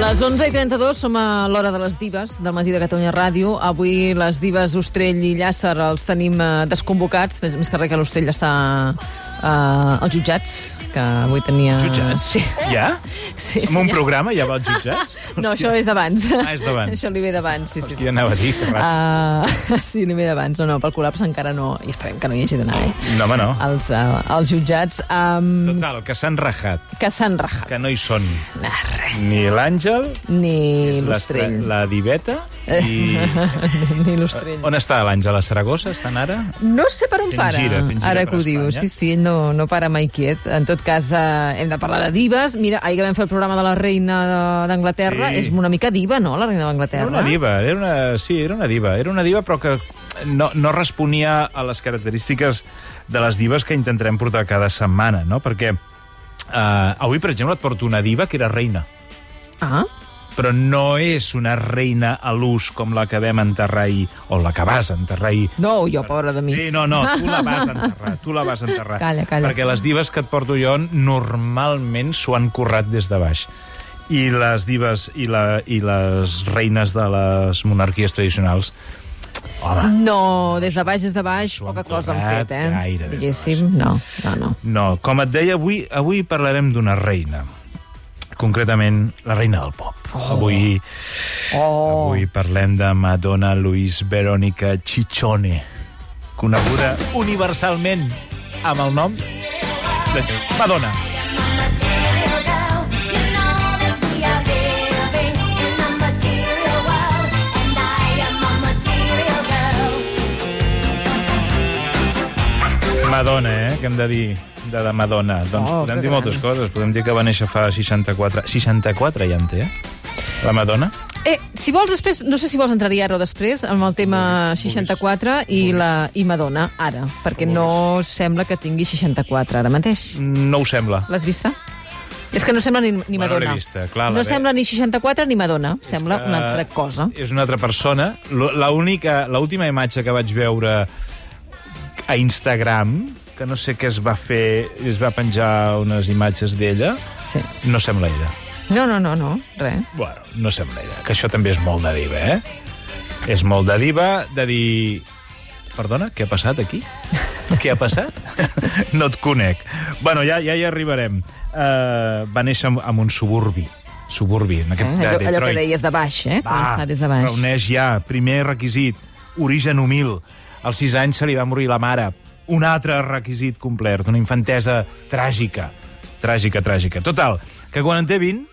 Les 11 i 32 som a l'hora de les dives del matí de Catalunya Ràdio. Avui les dives Ostrell i Llàcer els tenim eh, desconvocats, més, més que res que l'Ostrell està eh, als jutjats, que avui tenia... Jutjats? Sí. Ja? Sí, Amb un senyor. programa ja va als jutjats? No, això és d'abans. Ah, és d'abans. Això li ve d'abans, sí, sí. sí. Hòstia, anava a dir, que raro. Ah, sí, ni ve d'abans. No, no, pel col·lapse encara no. I esperem que no hi hagi d'anar, eh? No, home, no. Els, uh, els jutjats um, Total, que s'han rajat, que s'han rajat. que no hi són Ah, res. ni l'Àngel, Ni l'Estre- l'Ostrell. la Diveta i... Ni l'Ostrell. On està l'Àngel? A Saragossa estan ara? No sé per on Fent para, gira, fent gira ara per que ho diu. Espanya. Sí, sí, ell no, no para mai quiet. En tot cas, eh, hem de parlar de divas. Mira, ahir que vam fer el programa de la reina de- d'Anglaterra, Sí. és una mica diva, no?, la reina d'Anglaterra. Era una diva, era una, sí, era una diva. Era una diva, però que no, no responia a les característiques de les dives que intentarem portar cada setmana, no? Perquè eh, avui, per exemple, et porto una diva que era reina. Ah, però no és una reina a l'ús com la que vam enterrar ahir, o la que vas enterrar ahir. no, jo, pobra de mi. Sí, no, no, tu la vas enterrar, tu la vas enterrar. Calla, calla. Perquè les divas que et porto jo normalment s'ho han currat des de baix. I les dives i, la, i les reines de les monarquies tradicionals, home, No, des de baix, des de baix, S'ho han poca cosa han currat fet, eh? gaire des de Diguéssim, no, no, no. no. Com et deia, avui, avui parlarem d'una reina. Concretament, la reina del pop. Oh. Avui, Oh, Avui parlem de Madonna Luis Verónica Ciccione, coneguda universalment amb el nom de Madonna. Madonna, eh, que hem de dir de la Madonna. Doncs Oh, oh, podem que dir moltes coses. Podem dir que va néixer fa 64... 64 ja en té, eh? La Madonna. Eh, si vols després, no sé si vols entrar-hi ara o després, amb el tema 64 i, la, i Madonna, ara, perquè no sembla que tingui 64 ara mateix. No ho sembla. L'has vista? És que no sembla ni, ni Bueno, Madonna. l'he vista, clar, la no ve- sembla ni 64 ni Madonna, sembla que una altra cosa. Eh, És una altra persona. L- L'única, l'última imatge que vaig veure a Instagram, que no sé què es va fer, es va penjar unes imatges d'ella, Sí. no sembla ella. No, no, no, no, res. Bueno, no sembla ella, que això també és molt de diva, eh? És molt de diva de dir... Perdona, què ha passat aquí? Què ha passat? no et conec. Bueno, ja, ja hi arribarem. Uh, va néixer en- en un suburbi. Suburbi, en Eh? aquest de Allò, allò que Detroit. deies de baix, eh? Començar des de baix. reuneix ja. Primer requisit, origen humil. Als 6 anys se li va morir la mare. Un altre requisit complert, una infantesa tràgica. Tràgica, tràgica. Total, que quan en té 20,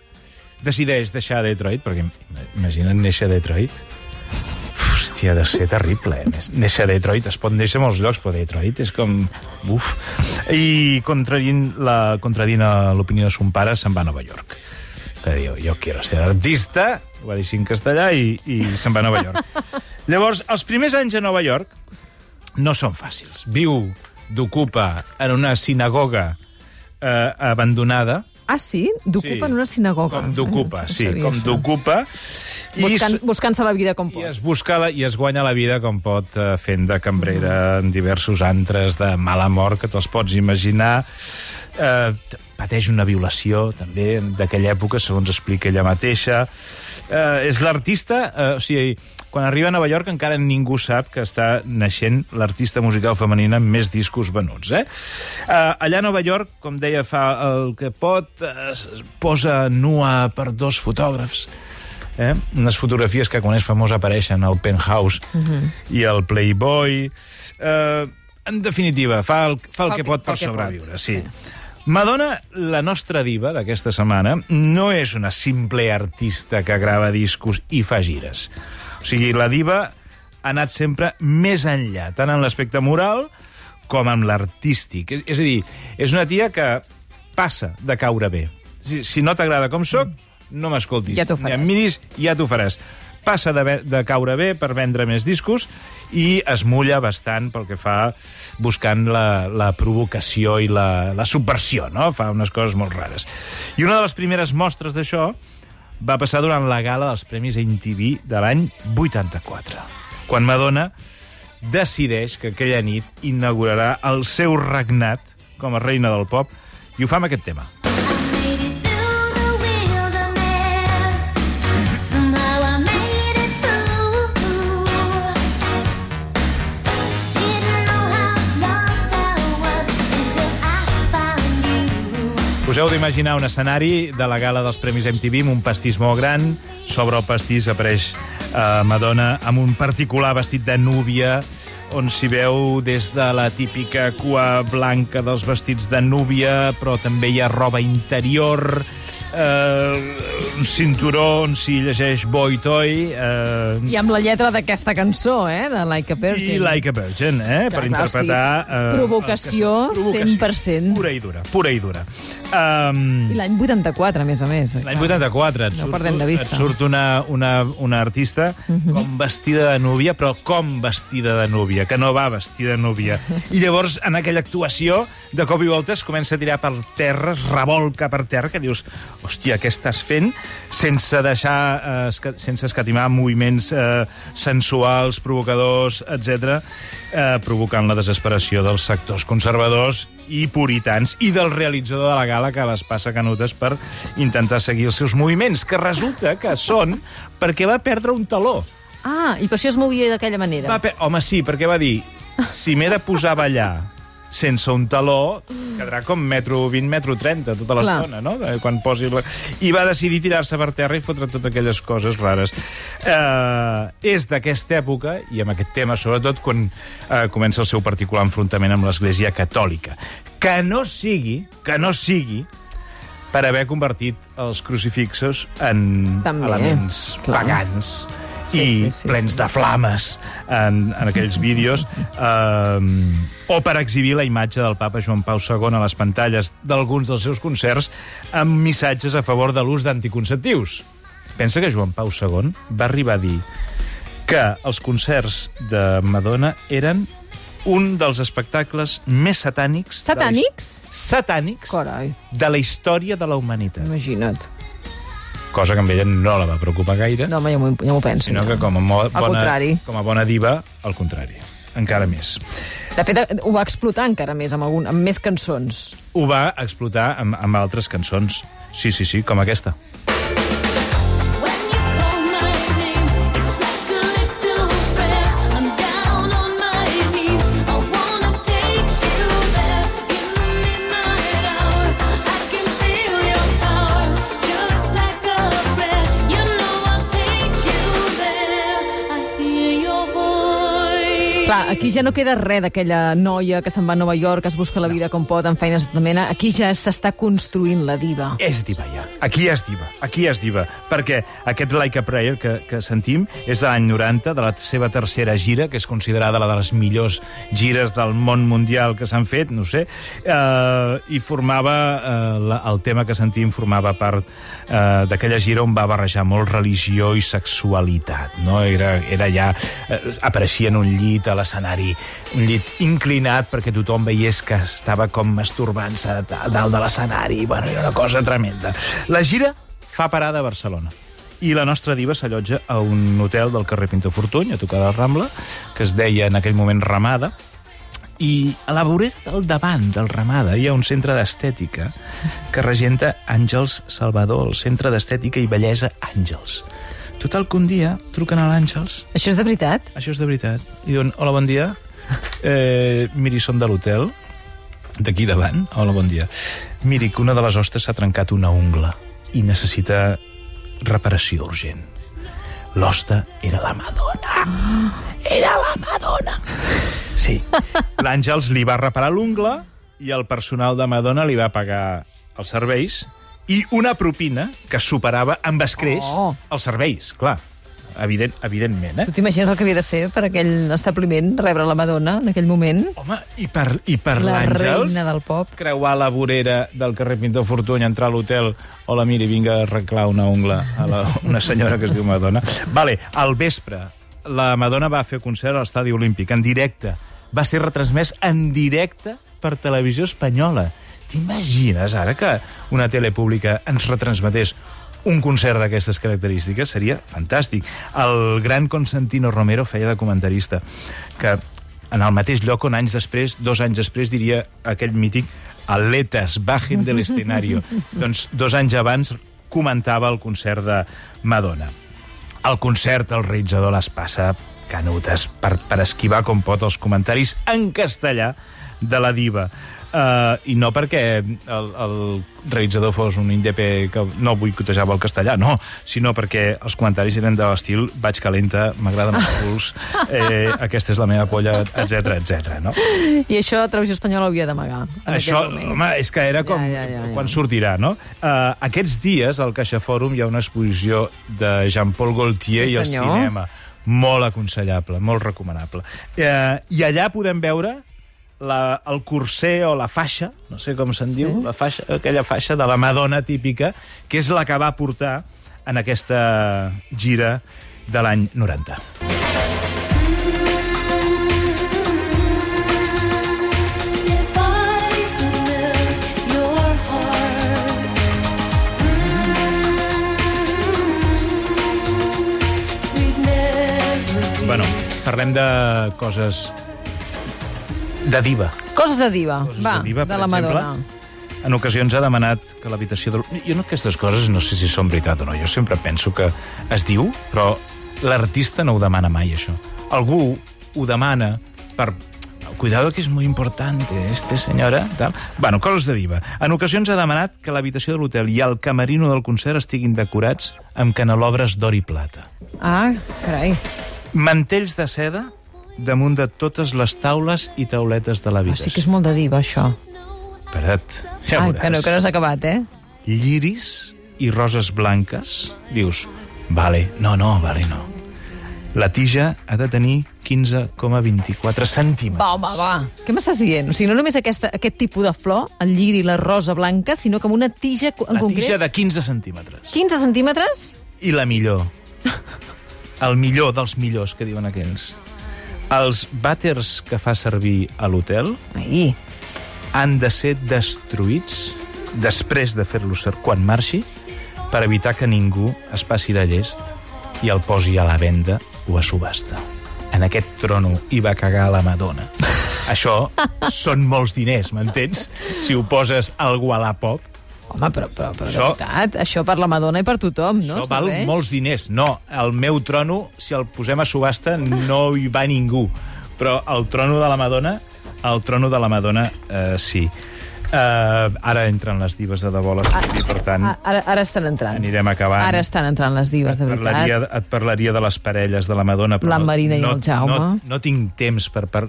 decideix deixar Detroit, perquè im- imagina't néixer a Detroit. Hòstia, ha de ser terrible, eh? Nes- Néixer a Detroit, es pot néixer a molts llocs, però a Detroit és com... Uf. I contradint la- contradint a l'opinió de son pare, se'n va a Nova York. Que diu, jo quiero ser artista, ho va dir així en castellà, i, i se'n va a Nova York. Llavors, els primers anys a Nova York no són fàcils. Viu d'ocupa en una sinagoga eh, abandonada, Ah, sí? D'ocupa en una sinagoga. com d'ocupa, Eh, no sí, sabia com això. d'ocupa. I, Buscant- s- Buscant-se la vida com i pot. es busca la, i es guanya la vida com pot eh, fent de cambrera en diversos antres de mala mort que te'ls pots imaginar. Eh, t- pateix una violació, també, d'aquella època, segons explica ella mateixa. Eh, és l'artista... Eh, o sigui, quan arriba a Nova York encara ningú sap que està naixent l'artista musical femenina amb més discos venuts. Eh? Eh, allà a Nova York, com deia, fa el que pot, eh, es posa nua per dos fotògrafs, eh? unes fotografies que quan és famosa apareixen al Penthouse uh Mhm. -huh. i al Playboy. Eh, en definitiva, fa el, fa el, que, pot per el que pot. sobreviure. Sí. Madonna, la nostra diva d'aquesta setmana, no és una simple artista que grava discos i fa gires. O sigui, la diva ha anat sempre més enllà, tant en l'aspecte moral com en l'artístic. És- És a dir, és una tia que passa de caure bé. Si, si no t'agrada com sóc, no m'escoltis. Ja t'ho Ni em faràs. miris, ja t'ho faràs. Passa de, ve- de caure bé per vendre més discos i es mulla bastant pel que fa buscant la, la provocació i la, la subversió, no? Fa unes coses molt rares. I una de les primeres mostres d'això va passar durant la gala dels Premis MTV de l'any 84, quan Madonna decideix que aquella nit inaugurarà el seu regnat com a reina del pop i ho fa amb aquest tema. I made it through the wilderness. Us heu d'imaginar un escenari de la gala dels Premis MTV amb un pastís molt gran. Sobre el pastís apareix eh, Madonna amb un particular vestit de núvia on s'hi veu des de la típica cua blanca dels vestits de núvia, però també hi ha roba interior, eh, un cinturó on s'hi llegeix Boy Toy, eh, I amb la lletra d'aquesta cançó, eh? De Like a Virgin. i Like a Virgin, eh? Que, per clar, interpretar... eh, sí. Provocació, el que s'ha- 100%. Pura i dura, pura i dura. Um, I l'any 84, a més a més. L'any 84 et No surt, perdem de vista. Mhm. et surt una, una, una artista com vestida de núvia, però com vestida de núvia, que no va vestida de núvia. I llavors, en aquella actuació, de cop i volta es comença a tirar per terra, es revolca per terra, que dius, hòstia, què estàs fent? Sense deixar, eh, esca sense escatimar moviments eh, sensuals, provocadors, etc, eh, provocant la desesperació dels sectors conservadors i puritans i del realitzador de la gala que les passa canutes per intentar seguir els seus moviments, que resulta que són perquè va perdre un taló. Ah, i per això es movia d'aquella manera. Va pe... Home, sí, perquè va dir si m'he de posar a ballar sense un taló, quedarà com metro 20, metro 30, tota Clar. l'estona, no? De- Quan posi... La... I va decidir tirar-se per terra i fotre totes aquelles coses rares. Uh, és d'aquesta època, i amb aquest tema sobretot, quan uh, comença el seu particular enfrontament amb l'Església Catòlica. Que no sigui, que no sigui, per haver convertit els crucifixos en També, elements clar. pagans Sí, i sí, sí, plens sí. de flames en, en aquells vídeos eh, o per exhibir la imatge del papa Joan Pau II a les pantalles d'alguns dels seus concerts amb missatges a favor de l'ús d'anticonceptius. Pensa que Joan Pau II va arribar a dir que els concerts de Madonna eren un dels espectacles més satànics... de la his- Satànics? Satànics Carai, de la història de la humanitat. imagina't. Cosa que a ella no la va preocupar gaire, no. No, home, ja m'ho ja m'ho penso. sinó ja. que com a, mo- bona, contrari. com a bona diva, al contrari. Encara més. De fet, eh, ho va explotar encara més, amb, algun, amb més cançons. Ho va explotar amb, amb altres cançons. Sí, sí, sí, com aquesta. When you call my name, it's like a little prayer. I'm down on my knees. I wanna take you there in the midnight hour. I can feel your power, just like a prayer. You know I'll take you there. I hear your voice. Clar, aquí ja no queda res d'aquella noia que se'n va a Nova York, que es busca la vida com pot, en feines de tota mena. Aquí ja s'està construint la diva. És diva, ja. Aquí és diva, aquí és diva. Perquè aquest Like a Prayer que, que sentim és de l'any 90, de la seva tercera gira, que és considerada la de les millors gires del món mundial que s'han fet, no ho sé, eh, i formava, eh, la, el tema que sentim formava part eh, d'aquella gira on va barrejar molt religió i sexualitat, no? Era, era ja... Eh, apareixia en un llit a l'escenari, un llit inclinat perquè tothom veiés que estava com masturbant-se a ta- a dalt de l'escenari. Bueno, era una cosa tremenda. La gira fa parada a Barcelona i la nostra diva s'allotja a un hotel del carrer Pintor Fortuny, a tocar de la Rambla, que es deia en aquell moment Ramada, i a la vorera del davant del Ramada hi ha un centre d'estètica que regenta Àngels Salvador, el centre d'estètica i bellesa Àngels. Total que un dia truquen a l'Àngels, Això és de veritat? això és de veritat, i diuen, hola, bon dia, eh, miri, som de l'hotel, d'aquí davant, hola, bon dia. Miri, que una de les hostes s'ha trencat una ungla i necessita reparació urgent. L'hosta era la Madonna. Era la Madonna. Sí. L'Àngels li va reparar l'ungla i el personal de Madonna li va pagar els serveis i una propina que superava amb escreix Oh. els serveis, clar. Evident, evidentment, eh? Tu t'imagines el que havia de ser per aquell establiment, rebre la Madonna en aquell moment? Home, i per, i per La l'Àngels... reina del pop. Creuar la vorera del carrer Pintor Fortuny, entrar a l'hotel... Hola, miri, vinga a arreglar una ungla a la, una senyora que es diu Madonna. Vale, al vespre, la Madonna va fer concert a l'Estadi Olímpic, en directe. Va ser retransmès en directe per televisió espanyola. T'imagines ara que una tele pública ens retransmetés un concert d'aquestes característiques? Seria fantàstic. El gran Constantino Romero feia de comentarista, que en el mateix lloc on anys després, dos anys després, diria aquell mític atletes, bajen del escenario. doncs dos anys abans comentava el concert de Madonna. Al concert el realitzador les passa canutes per, per esquivar com pot els comentaris en castellà de la diva. Uh, I no perquè el, el realitzador fos un indepe que no boicotejava el castellà, no, sinó perquè els comentaris eren de l'estil vaig calenta, m'agraden els culs, eh, aquesta és la meva polla, etc etc. no? I això Televisió Espanyola ho havia d'amagar. en Això, aquest moment. home, és que era com Ja, ja, ja, ja. quan sortirà, no? Uh, aquests dies al Caixa Fòrum hi ha una exposició de Jean-Paul Gaultier Sí, i el senyor. cinema. Molt aconsellable, molt recomanable. Uh, I allà podem veure la, el corset o la faixa, no sé com se'n sí. diu, la faixa, aquella faixa de la Madonna típica, que és la que va portar en aquesta gira de l'any 90. If I could melt your heart, we'd never be. Bueno, parlem de coses de diva. Coses de diva, Coses va, de diva, per la Madonna. exemple. En ocasions ha demanat que l'habitació... Del... Jo no aquestes coses no sé si són veritat o no. Jo sempre penso que es diu, però l'artista no ho demana mai, això. Algú ho demana per... Cuidado que és molt important, este senyora... Tal. Bueno, coses de diva. En ocasions ha demanat que l'habitació de l'hotel i el camerino del concert estiguin decorats amb canelobres d'or i plata. Ah, carai, Mantells de seda damunt de totes les taules i tauletes ah, de sí l'habitació. que és molt de diva, això. Espera't, ja Ai, veuràs. que no, que no s'ha acabat, eh? lliris i roses blanques, dius, vale, no, no, vale, no. La tija ha de tenir 15,24 centímetres. Va, home, va. Què m'estàs dient? O sigui, no només aquesta, aquest tipus de flor, el lliri i la rosa blanca, sinó com una tija co- en La concret. tija de 15 centímetres. 15 centímetres? I la millor. El millor dels millors, que diuen aquells. Els vàters que fa servir a l'hotel Ai, han de ser destruïts després de fer-los ser- quan marxi per evitar que ningú es passi de llest i el posi a la venda o a subhasta. En aquest trono hi va cagar la Madonna. Això són molts diners, m'entens? Si ho poses al Wallapop, home, però, però, però això... Això- de veritat, això per la Madonna i per tothom, no? no, això val Serveix? molts diners. No, el meu trono, si el posem a subhasta, no hi va ningú. Però el trono de la Madonna, el trono de la Madonna, eh, sí. Eh, ara entren les divas de debò, les i per tant... Ah, ara, ara estan entrant. Anirem acabant. Ara estan entrant les dives, de veritat. Parlaria, et parlaria de les parelles de la Madonna, però La no- Marina i no, el Jaume. No, no tinc temps per, per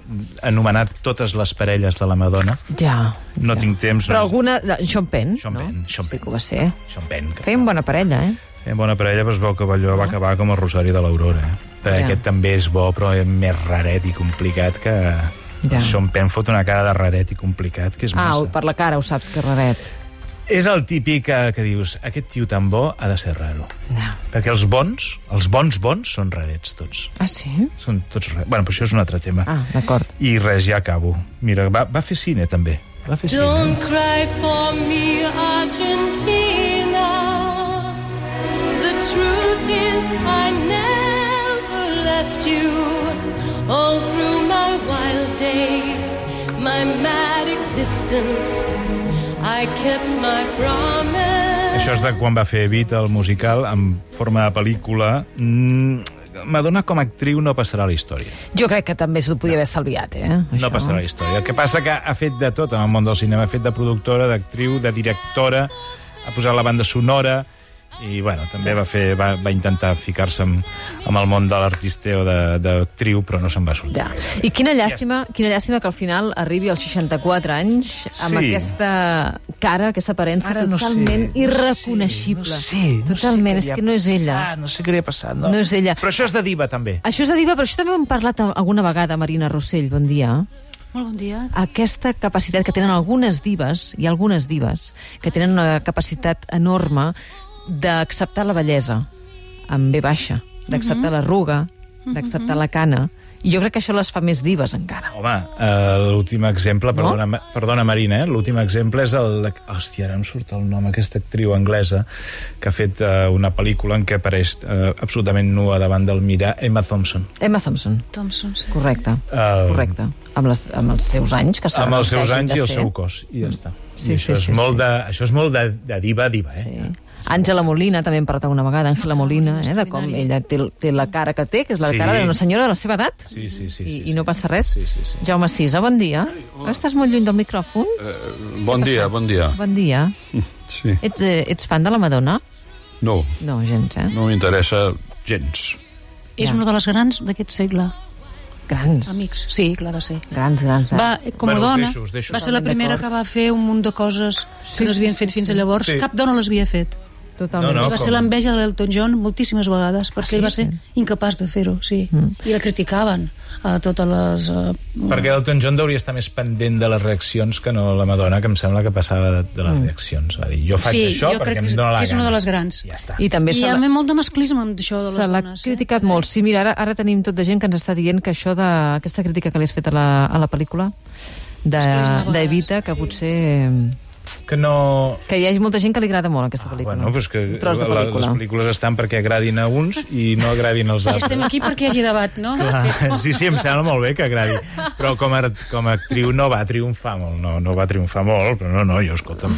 anomenar totes les parelles de la Madonna. Ja. No ja. tinc temps, Però no. alguna... la- Sean Penn, Sean no? Penn, Sean sí Penn. que ho va ser. Sean Penn. Que... Feien bona parella, eh? Feien bona parella, però es veu que Balló va acabar com el Rosari de l'Aurora. Eh? Ah. Perquè Ja. Aquest també és bo, però és més raret i complicat que... Ja. Sean Penn fot una cara de raret i complicat, que és Ah, massa. ho- per la cara ho saps, que raret. És el típic que, que dius, aquest tio tan bo ha de ser raro. Ja. Perquè els bons, els bons bons són rarets tots. Ah, sí? Són tots... ra- Bueno, però això és un altre tema. Ah, d'acord. I res, ja acabo. Mira, va, va fer cine, també. Va fer cine. Don't cry for me, Argentina. The truth is, I never left you. All through my wild days, my mad existence, I kept my promise. Això és de quan va fer Evita, el musical, en forma de pel·lícula. Mm, Madonna com a actriu no passarà a la història. Jo crec que també s'ho podia haver estalviat, eh? No això. passarà a la història. El que passa que ha fet de tot en el món del cinema. Ha fet de productora, d'actriu, de directora, ha posat la banda sonora i, bueno, també va, fer, va, va intentar ficar-se amb, amb el món de l'artista o de- d'actriu, però no se'n va sortir. Ja. I quina llàstima, quina llàstima que al final arribi als 64 anys amb Sí. aquesta cara, aquesta aparença totalment irreconeixible. No sé, no sé, totalment, què és li ha que no és ella. Passat, no sé què li ha passat. No. No és ella. Però això és de diva, també. Això és de diva, però això també ho hem parlat alguna vegada, Marina Rossell, bon dia. Molt bon dia. Aquesta capacitat que tenen algunes dives, i algunes dives, que tenen una capacitat enorme d'acceptar la bellesa amb B baixa, d'acceptar Mhm. l'arruga, d'acceptar la cana, i jo crec que això les fa més dives encara. Home, eh, l'últim exemple, perdona, Ma- perdona Marina, eh? l'últim exemple és el... de- Hòstia, ara em surt el nom, aquesta actriu anglesa que ha fet eh, una pel·lícula en què apareix eh, absolutament nua davant del mirar, Emma Thompson. Emma Thompson, Thompson, sí. correcte, Eh, correcte. Amb, les, amb els seus anys, que Amb els s'arrepenteixin seus anys de i el ser. seu cos, i ja està. Sí, I sí, això, és sí, molt sí. De, això és molt de, de diva a diva, eh? Sí. Àngela Molina, també hem parlat alguna vegada, Àngela Ah, Molina, eh, de com ella té, té la cara que té, que és la Sí. cara d'una senyora de la seva edat, Sí, sí, sí. i, sí, i no sí. passa res. Sí, sí, Eh. sí. Jaume Sisa, bon dia. Estàs molt lluny del micròfon? Bon dia, bon dia. Bon dia. Sí. Ets, eh, ets fan de la Madonna? No, No, gens, eh? no m'interessa gens. És una de les grans d'aquest segle. Grans, Amics, sí, clar que sí. grans, grans. Va, com a eh, Bueno, us dona, deixo, us deixo. va ser la Totalment primera d'acord. que va fer un munt de coses Sí, que no s'havien sí, fet sí, fins sí. a llavors. Sí. Cap dona les havia fet. Totalment. No, Ah, I va com? ser l'enveja de l'Elton John moltíssimes vegades, perquè ell va ser incapaç de fer-ho, sí. Mm. I la criticaven a totes les... eh, Perquè Elton John hauria estar més pendent de les reaccions que no la Madonna, que em sembla que passava de, de les Mm. reaccions. Va dir, jo faig Sí, això jo perquè crec em que- dóna la que és gana. una de les grans. Ja està. I també I se hi la- ha molt de masclisme amb això de les se l'ha dones. eh? criticat molt. Sí, mira, ara, ara tenim tot de gent que ens està dient que això de, aquesta crítica que li has fet a la, a la pel·lícula de- Masclisme a vegades, d'Evita, que potser... Que no... Que hi hagi molta gent que li agrada molt aquesta pel·lícula. Ah, Bueno, però és que Un tros de la, les pel·lícula. pel·lícules estan perquè agradin a uns i no agradin als I estem altres. aquí perquè hi hagi debat, no? Clar, sí, sí, em sembla molt bé que agradi. Però com a, com a actriu no va triomfar molt. No, no va triomfar molt, però no, no, jo, escolta'm...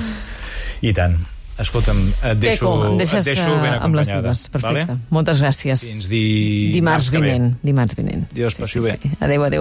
I tant. Escolta'm, et deixo, Peco, em et deixes deixo ben eh, amb les acompanyada. dues. Perfecte. Moltes gràcies. Fins di... Dimarts que ve. vinent. Dimarts vinent. Dimarts, passi bé. Sí. Adéu, adéu.